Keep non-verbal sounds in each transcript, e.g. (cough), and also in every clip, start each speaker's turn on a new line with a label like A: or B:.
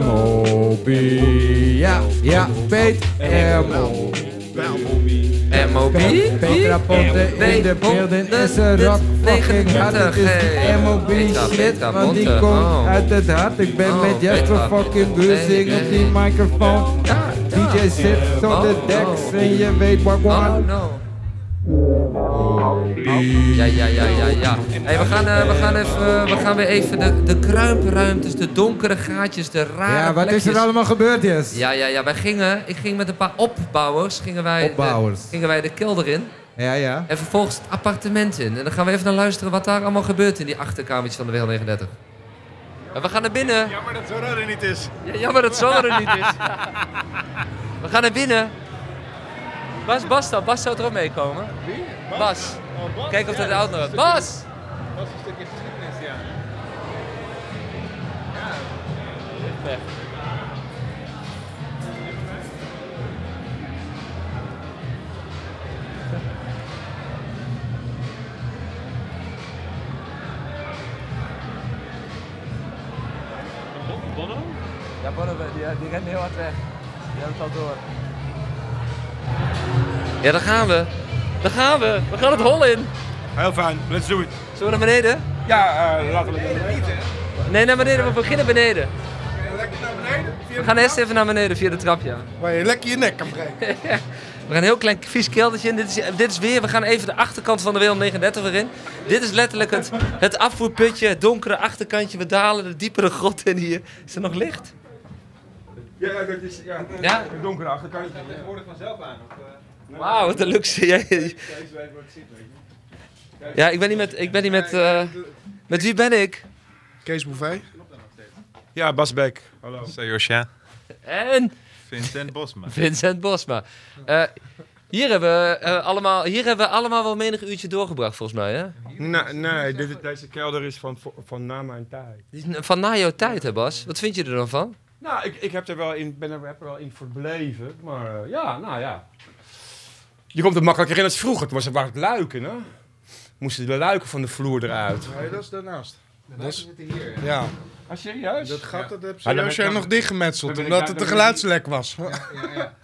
A: MOB. Ja, ja, Peet. MOB.
B: MOB?
A: Petra Ponte in de building is een rock fucking hard. Het is die MOB shit, want die komt uit het hart. Ik ben met Jasper fucking Buzzing op die microfoon. DJ zit zonder deks en je weet wat
B: Oh,
A: one.
B: no. Ja, ja, ja, ja, ja. Hey, we, gaan, eh, we, gaan even, eh, we gaan weer even de, de kruipruimtes, de donkere gaatjes, de rare
A: Ja, wat is er
B: plekjes.
A: allemaal gebeurd, Jes?
B: Ja, ja, ja. Wij gingen, ik ging met een paar opbouwers, gingen wij,
A: Opbouwers.
B: De, gingen wij de kelder in
A: Ja, ja.
B: en vervolgens het appartement in. En dan gaan we even naar luisteren wat daar allemaal gebeurt in die achterkamertjes van de WL39. En we gaan naar binnen.
C: Jammer dat Zorro er niet is.
B: Ja, jammer dat Zorro er niet is. We gaan naar binnen. Waar is Bas dan? Bas zou er ook meekomen.
C: Wie?
B: Bas.
C: Oh, Bas.
B: Kijk of
C: Ja,
B: dat de auto
C: is
B: nog...
C: een
B: Bas!
C: stukje- Dat is een stukje geschiedenis, ja.
B: Ja, Bonne, die, die rent heel hard weg. Die hebben het al door. Ja, daar gaan we. Daar gaan we. We gaan het hol in.
C: Heel fijn, let's do it.
B: Zullen we naar beneden?
C: Ja, eh, laten we het niet, hè?
B: Nee, naar beneden. We beginnen beneden.
C: Lekker naar beneden.
B: We gaan eerst even naar beneden via de trap, ja.
C: Waar je lekker je nek kan breken.
B: We gaan een heel klein vies keldertje in. Dit is, dit is weer, we gaan even de achterkant van de WL 39 weer in. Dit is letterlijk het, het afvoerputje, het donkere achterkantje. We dalen de diepere grot in hier. Is er nog licht?
C: Ja, dat is ja,
B: Ja.
C: een donkere achterkant. Het tegenwoordig vanzelf aan. Of,
B: Wauw, wat een luxe. Jij-
C: Deze weet wat ik zit, weet je.
B: Ja, ik ben niet met... Ik ben niet met, eh, met wie ben ik?
C: Kees Bouvet. Ja, Bas Beck. Hallo.
D: Sayosha.
B: En...
D: Vincent Bosma.
B: Vincent Bosma. Eh, hier, hebben we, eh, allemaal, hier hebben we allemaal wel menig uurtje doorgebracht, volgens mij. Hè?
C: Nee, nee dit, deze kelder is van, van na mijn tijd.
B: Die is Van na jouw tijd, hè Bas? Wat vind je er dan van? Oh
C: Nou, ik, ik heb er wel in, ben er, heb er wel in verbleven, maar eh, ja, nou ja. Je komt er makkelijker in als vroeger. Toen was het, waren het luiken, hè? Moesten de luiken van de vloer eruit.
E: Nee, dat is daarnaast. Dat is,
F: hier.
E: ja,
C: Ah, serieus?
E: dat gat dat heb
C: Ah, dan ben
E: serieus
C: ik- dan-
E: nog dichtgemetseld,
C: dan ben ik
E: omdat
C: daar-
E: het
C: dan
E: een
C: ben ik-
E: geluidslek was.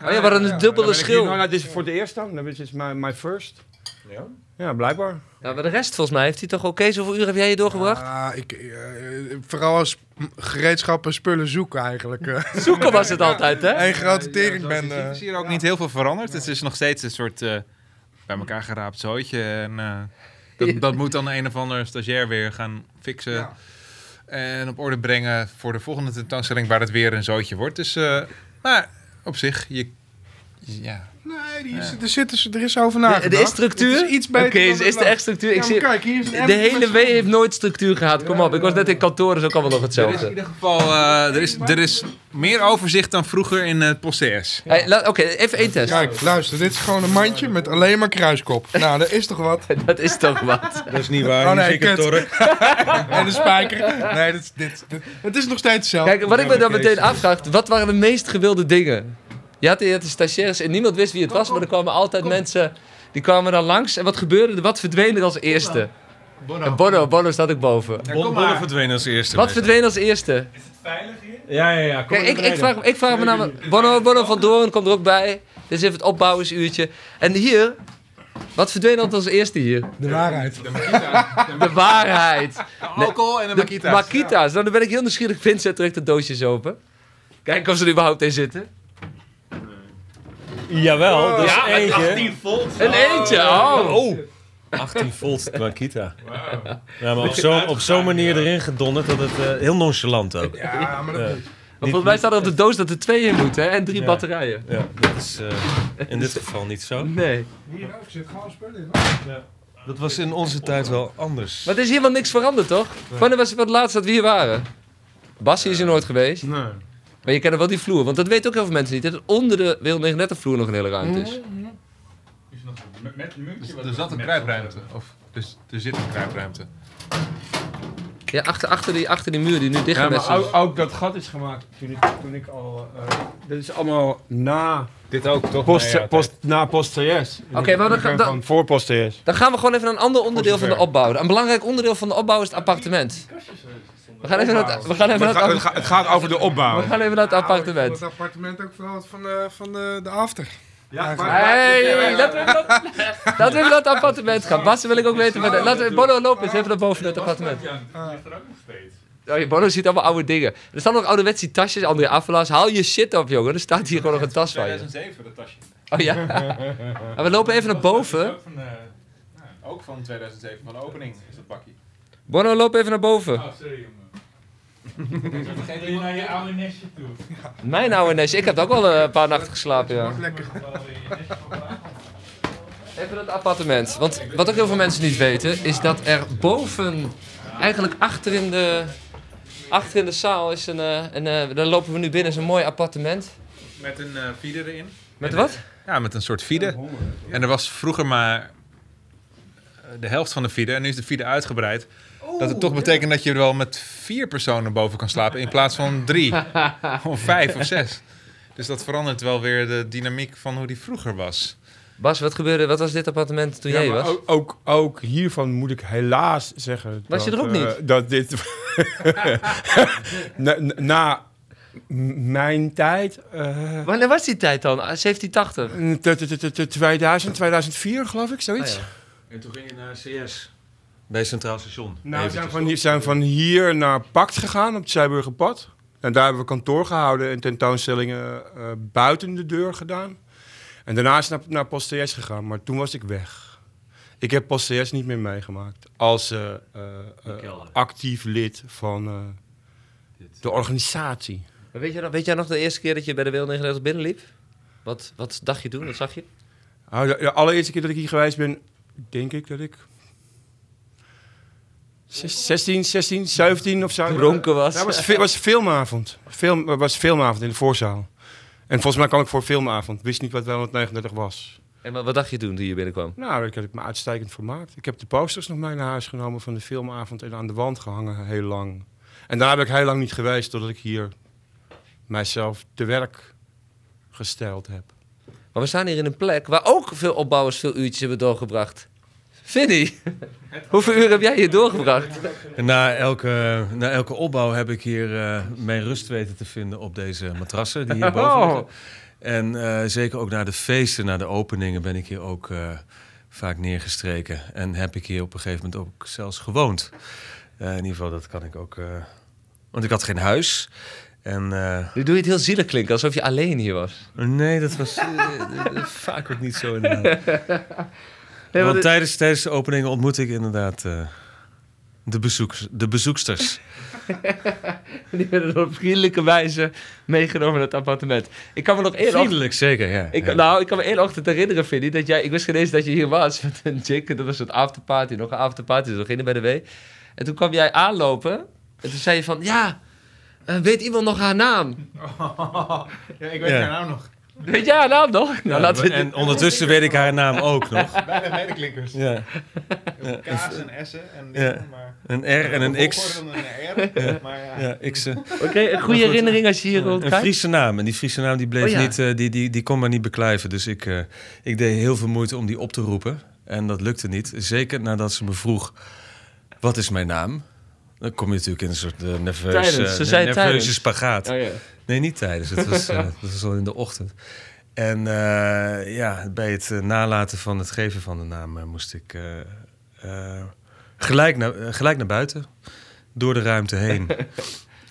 B: Oh ja, wat een dubbele schil.
C: Nou, nou, dit is voor de eerst dan. Dit is my, my first. Ja? Ja, blijkbaar.
B: Ja, maar de rest, volgens mij, heeft hij toch oké? Zoveel uur heb jij hier doorgebracht?
E: Ah, ik, eh, vooral als gereedschap en spullen zoeken eigenlijk. eh.
B: Zoeken was het altijd, hè?
E: Eén grote tering ben.
D: Het is hier ook niet heel veel veranderd. Het is nog steeds een soort eh, bij elkaar geraapt zootje. En, eh, dat, dat moet dan een of ander stagiair weer gaan fixen.
E: Ja.
D: En op orde brengen voor de volgende tentoonstelling waar het weer een zootje wordt. Dus, eh, maar op zich, je, ja.
E: nee, die is, er, zitten ze, er is over
B: Er-
E: nagedacht.
B: Er is structuur.
E: Het is iets beter
B: Oké, is,
E: dan
B: is
E: het
B: er echt structuur? Ik
E: Ja, maar
B: zie,
E: kijk, hier is een
B: de
E: emmer met
B: hele
E: z'n-
B: W heeft nooit structuur gehad. Kom op, ik was net in kantoor, is ook allemaal nog
D: Er is in
B: hetzelfde.
D: ieder geval eh, er is, er is meer overzicht dan vroeger in het proces.
B: Hey, la- Oké, even één test.
E: Kijk, luister, dit is gewoon een mandje met alleen maar kruiskop. Nou, dat is toch wat?
B: (laughs) Dat is toch wat?
F: Dat is niet waar.
E: Oh,
F: Oh,
E: nee,
F: nee,
E: kut. (laughs) En een spijker. Nee, dit, is- dit, dit- het is nog steeds hetzelfde.
B: Kijk, wat ik me dan meteen afvraag, wat waren de meest gewilde dingen? Je had, je had de stagiaires en niemand wist wie het was, maar er kwamen altijd mensen, die kwamen dan langs. En wat gebeurde er? Wat verdween er als eerste? En Bono, Bono staat ook boven.
D: kom
F: Bonbonne verdwenen als eerste.
B: Wat verdween als eerste?
F: Ja, ja, ja. Kom
B: Kijk,
F: maar
B: ik,
F: naar
B: ik
F: beneden.
B: vraag, ik vraag me namelijk... Bono, Bono van Doorn komt er ook bij. Dit is even het opbouwersuurtje. En hier, wat verdween altijd als eerste hier?
E: De waarheid.
B: (laughs) De waarheid.
D: Alcohol en een
B: De Makita's. Nou, dan ben ik heel nieuwsgierig. Vincent trekt de doosjes open. Kijken of ze er überhaupt in zitten.
F: Jawel, dus
B: Ja,
F: eentje.
B: Een eentje, oh.
F: 18 volt Makita. Ja, maar op zo'n op zo'n manier erin gedonderd dat het eh, heel nonchalant ook. Ja,
E: Ja, maar dat,
B: Maar volgens mij staat er op de doos dat er twee in moeten hè? en drie
F: Ja.
B: batterijen.
F: dat is eh, in dit geval niet zo.
B: Nee.
E: hier ook zit gewoon spullen in.
F: Dat was in onze tijd wel anders.
B: Maar er is helemaal niks veranderd, toch? Wanneer was het voor het laatst dat we hier waren? Bassie is er nooit geweest.
C: Nee.
B: Maar je kent wel die vloer, want dat weten ook heel veel mensen niet. hè, Dat onder de Wil 39 vloer nog een hele ruimte is.
D: Er zat een kruipruimte. Of, dus, er zit een kruipruimte.
B: Ja, achter, achter, die, achter die muur die nu dicht
C: Ja,
B: gaat met
C: maar
B: z'n-
C: ook, ook dat gat is gemaakt toen ik, toen ik al... eh dit is allemaal na
D: Dit ook, toch?
C: post, post, na post CS.
B: Oké, maar dan ga- dan-
C: Van voor post CS.
B: Dan gaan we gewoon even naar een ander onderdeel van de opbouw. Een belangrijk onderdeel van de opbouw is het appartement. We gaan even naar het, we gaan even
G: Maar
B: naar
G: het, gaat-
B: het,
G: het gaat-
B: appartement.
G: het gaat over de opbouw.
B: we gaan even naar
D: Nou,
B: het
E: Nou, Het
B: appartement.
E: appartement ook vooral van, eh, van eh, de after.
G: Ja, maar-
B: Hey, laten we even naar- laten we even naar het appartement gaan. Bas, wil ik ook weten. waar de- Laten we, Bono, loop eens even naar boven naar het appartement. Oh, Bono ziet allemaal oude dingen. Er staan nog ouderwetse tasjes, André Affelas. Haal je shit op, jongen. Er staat hier gewoon nog een tas van je.
D: 2007, dat tasje.
B: Oh ja. En we lopen even naar boven.
D: Ook van, eh, nou, ook van 2007, van de opening is dat bakje.
B: Bono, loop even naar boven.
D: Vergeet je naar je oude nestje.
B: Mijn oude nestje. Ik heb ook al een paar nachten geslapen, ja.
E: Lekker.
B: Even dat appartement. Want wat ook heel veel mensen niet weten, is dat er boven, eigenlijk achter in de, achter in de zaal, is een, eh, een eh, daar lopen we nu binnen, is een mooi appartement.
D: Met een eh feeder erin.
B: Met wat?
D: Ja, met een soort fide. En er was vroeger maar eh, de helft van de fide. En nu is de fide uitgebreid.
G: Oh,
D: dat het toch betekent dat je er wel met vier personen boven kan slapen. In plaats van
G: (laughs)
D: drie. of vijf of zes. Dus dat verandert wel weer de dynamiek van hoe die vroeger was.
B: Bas, wat gebeurde, wat was dit appartement toen
C: Ja,
B: jij
C: maar
B: was?
C: ook, ook, ook hiervan moet ik helaas zeggen.
B: Was je
C: dat,
B: er ook
C: eh,
B: niet?
C: dat dit. (laughs) na, na- na m- mijn tijd. eh,
B: Wanneer was die tijd dan? Ah, 1780?
C: t- t- t- t- 2000, 2004 geloof ik, zoiets.
B: Ah,
F: En toen ging je naar CS. Bij Centraal Station.
C: Nou, we
F: Eventjes.
C: zijn van, hier, zijn van hier naar Pact gegaan op het Zeeburgerpad. En daar hebben we kantoor gehouden en tentoonstellingen eh, buiten de deur gedaan. En daarna is het naar, naar Post TS gegaan, maar toen was ik weg. Ik heb Post TS niet meer meegemaakt als eh, eh, eh,
F: kelder.
C: actief lid van eh, de organisatie.
B: Maar Weet, jij nog, weet jij nog de eerste keer dat je bij de Wereld 39 binnenliep? Wat, wat dacht je toen? Wat zag je?
C: Nou, de, de allereerste keer dat ik hier geweest ben, denk ik dat ik... zes- 16, 16, 17 of zo.
B: Dronken was.
C: Ja, het was, fi- was filmavond. Film, was filmavond in de voorzaal. En volgens mij kwam ik voor filmavond. Wist niet wat 139 was.
B: En wat, wat dacht je toen toen je binnenkwam?
C: Nou, daar heb ik me uitstekend vermaakt. Ik heb de posters nog mee naar huis genomen van de filmavond en aan de wand gehangen heel lang. En daar heb ik heel lang niet geweest totdat ik hier mijzelf te werk gesteld heb.
B: Maar we staan hier in een plek waar ook veel opbouwers veel uurtjes hebben doorgebracht. Vinnie, (laughs) hoeveel uur heb jij hier doorgebracht?
F: Na elke, na elke opbouw heb ik hier eh, mijn rust weten te vinden op deze matrassen die hierboven
B: Oh.
F: liggen. En eh, zeker ook na de feesten, na de openingen ben ik hier ook eh, vaak neergestreken. En heb ik hier op een gegeven moment ook zelfs gewoond. Eh, in ieder geval, dat kan ik ook... eh, want ik had geen huis. En eh,
B: Nu doe je het heel zielig klinken, alsof je alleen hier was.
F: nee, dat was eh, (laughs) vaak ook niet zo inderdaad.
B: Nee, want
F: Want
B: het-
F: tijdens, tijdens de openingen ontmoette ik inderdaad eh, de, bezoekers, de bezoeksters.
B: die werden op vriendelijke wijze meegenomen naar het appartement. Ik kan me nog één ochtend...
F: Vriendelijk, zeker, ja.
B: Ik,
F: Ja.
B: nou, ik kan me één ochtend herinneren, Vinnie, dat jij... Ik wist geen eens dat je hier was (laughs) met een chick. en Dat was een afterparty, nog een afterparty, nog in bij de W. En toen kwam jij aanlopen en toen zei je van... Ja, eh, weet iemand nog haar naam?
G: Ja, ik
F: weet Ja. haar
G: naam nog.
B: Weet jij haar naam nog? Nou, laten we...
F: En ondertussen weet ik haar naam
B: (laughs)
F: ook nog.
G: Bij de medeklinkers.
F: Ja.
D: Eh,
G: Kaas en Essen en
F: Ja.
G: dingen, maar...
F: Een R en een X.
G: Volgorde en een R, maar ja.
F: Ja, X'en.
B: Oké, een goede herinnering als je hier
F: Een
B: rondkijkt.
F: Friese naam. En die Friese naam die bleef
B: Oh, ja.
F: niet, eh, die, die, die kon maar niet beklijven. Dus ik, eh, ik deed heel veel moeite om die op te roepen. En dat lukte niet. Zeker nadat ze me vroeg, wat is mijn naam? Dan kom je natuurlijk in een soort eh, nerveuze,
B: Tijdens, ze zei
F: nerveuze
B: tijdens.
F: spagaat.
B: Oh, ja.
F: Nee, niet tijdens. Het was, eh, dat was al in de ochtend. En eh, ja, bij het eh, nalaten van het geven van de naam eh, moest ik eh, eh, gelijk, naar, eh, gelijk naar buiten. Door de ruimte heen.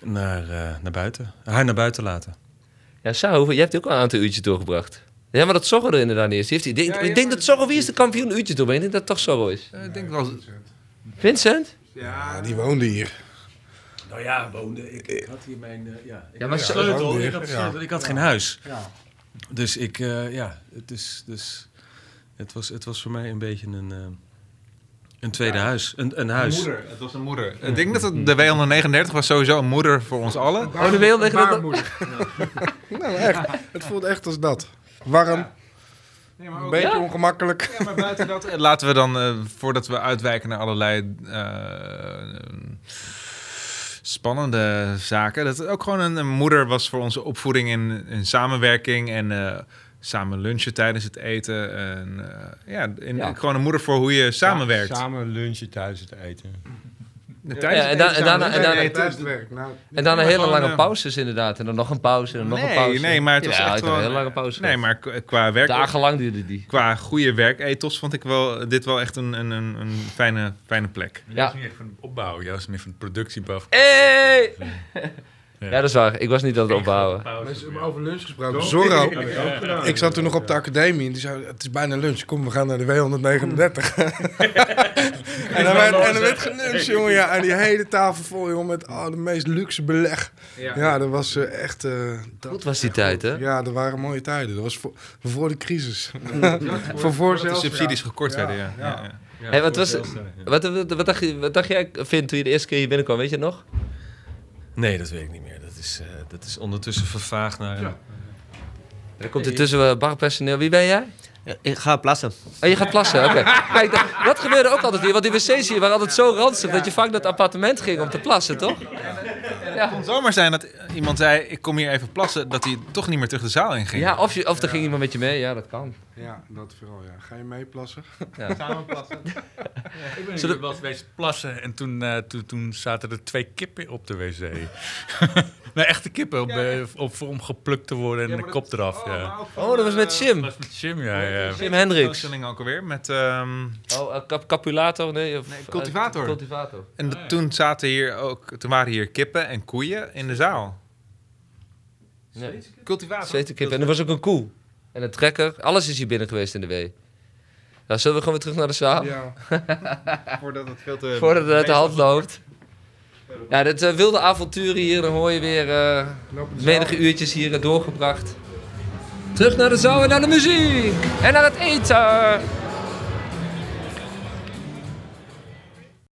F: naar, eh, naar buiten. Haar naar buiten laten.
B: Ja, Sao, jij hebt ook al een aantal uurtjes doorgebracht. Ja, maar dat Zorro er inderdaad niet is. Die heeft, ik denk, ik denk dat Zorro, wie is de kampioen uurtjes door? Ik denk dat het toch Zorro is.
D: Eh, ik denk wel
B: Vincent?
E: Ja, die woonde hier.
F: Nou ja, woonde ik. had hier mijn eh, ja,
B: Ja, maar Zorro-
E: sleutel. Ik had sleutel.
F: Ik had geen huis. Dus ik, eh, ja, het, is, dus, het, was, het was voor mij een beetje een, eh, een tweede huis. Een, een huis.
D: moeder. Het was een moeder. Ik denk dat het, de W139 was sowieso een moeder voor ons allen.
B: Oh, de wereld tegen dat...
E: Baarmoeder. Nou, echt. Het voelt echt als dat. Warm,
G: Nee, maar
E: een
G: ook-
E: beetje
B: Ja?
E: ongemakkelijk.
D: Ja, maar buiten dat, eh, laten we dan, eh, voordat we uitwijken naar allerlei eh, spannende zaken, dat het ook gewoon een, een moeder was voor onze opvoeding in, in samenwerking en eh, samen lunchen tijdens het eten. En, eh, ja, in,
B: Ja.
D: gewoon een moeder voor hoe je samenwerkt.
C: Samen lunchen tijdens het eten.
D: tijdens
B: Ja,
D: het
B: en dan-
D: eten
B: en
D: gaan
B: daarna-
D: we
B: en
D: niet
B: daarna-
D: eten.
C: Tijdens het werk. Nou,
B: En dan een
D: maar
B: hele
D: gewoon,
B: lange
D: eh,
B: pauzes inderdaad. En dan nog een pauze en nog een
D: Nee,
B: pauze.
D: nee, maar het was
B: Jawel,
D: echt
B: hij
D: gewoon,
B: had een hele
D: eh,
B: lange pauze.
D: Nee, maar k- qua werk...
B: Dagenlang duurde die.
D: Qua goede werkethos vond ik wel, dit wel echt een, een, een, een fijne, fijne plek.
F: Jij
B: Ja.
F: was niet echt van opbouw, jij was meer van productiebaf.
B: Hey! Ja, dat is waar. Ik was niet aan het opbouwen.
C: maar ze hebben over lunch gesproken. Zorro. Ik zat toen nog op de academie en die zei, het is bijna lunch, kom we gaan naar de W139. (laughs) en, dan werd, en dan werd geluncht, jongen, ja. En die hele tafel vol, jongen, met ah, de meest luxe beleg. Ja, dat was eh, echt... eh, dat-
B: Goed was die tijd, hè?
C: Ja, dat waren mooie tijden. Dat was voor, voor de crisis. voor voor
D: De
C: zelfs.
D: subsidies gekort werden, ja.
C: ja.
D: ja, ja.
B: Hey, wat, was, wat, wat, wat dacht, je- wat dacht jij, Vint, toen je de eerste keer hier binnenkwam? Weet je het nog?
H: Nee, dat weet ik niet meer. Dat is, eh, dat is ondertussen vervaagd naar...
B: Er komt intussen wel barpersoneel. Wie ben jij?
I: Ik ga plassen.
B: Oh, je gaat plassen, oké. Kijk, dat, dat gebeurde ook altijd hier. Want die wc's hier waren altijd zo ranzig dat je vaak naar het appartement ging om te plassen, toch?
D: Het kon zomaar zijn dat iemand zei, ik kom hier even plassen, dat hij toch niet meer terug de zaal in ging.
B: Ja, of, je, of er ging iemand met je mee. Ja, dat kan.
C: Ja, dat vooral, ja. Ga je meeplassen?
F: Ik ben
B: Zullen-
F: hier wel geweest plassen en toen, eh, toen, toen zaten er twee kippen op de
H: (laughs)
F: wc. nee, echte kippen om, eh, op, voor om geplukt te worden en de kop eraf. ja.
B: Oh, dat was met
F: Dat
B: Jim.
F: was met Jim, ja. ja.
B: Jim Hendricks.
D: Toonstelling ook alweer. Met, ehm,
B: Oh, eh, cap- Capulato, nee. Of,
D: Nee, cultivator.
B: eh, cultivator.
D: en dat- toen, zaten hier ook, toen waren hier kippen en koeien in de zaal.
B: Nee.
D: Cultivator.
B: Zwetenkip. En er was ook een koe. En een trekker. Alles is hier binnen geweest in de W. Nou, zullen we gewoon weer terug naar de zaal?
C: Ja.
B: (laughs)
D: Voordat het veel te...
B: Voordat het uit de hand loopt. Ja, dit eh, wilde avontuur hier. Dan hoor je weer eh menige uurtjes hier eh, doorgebracht. Terug naar de zaal en naar de muziek. En naar het eten.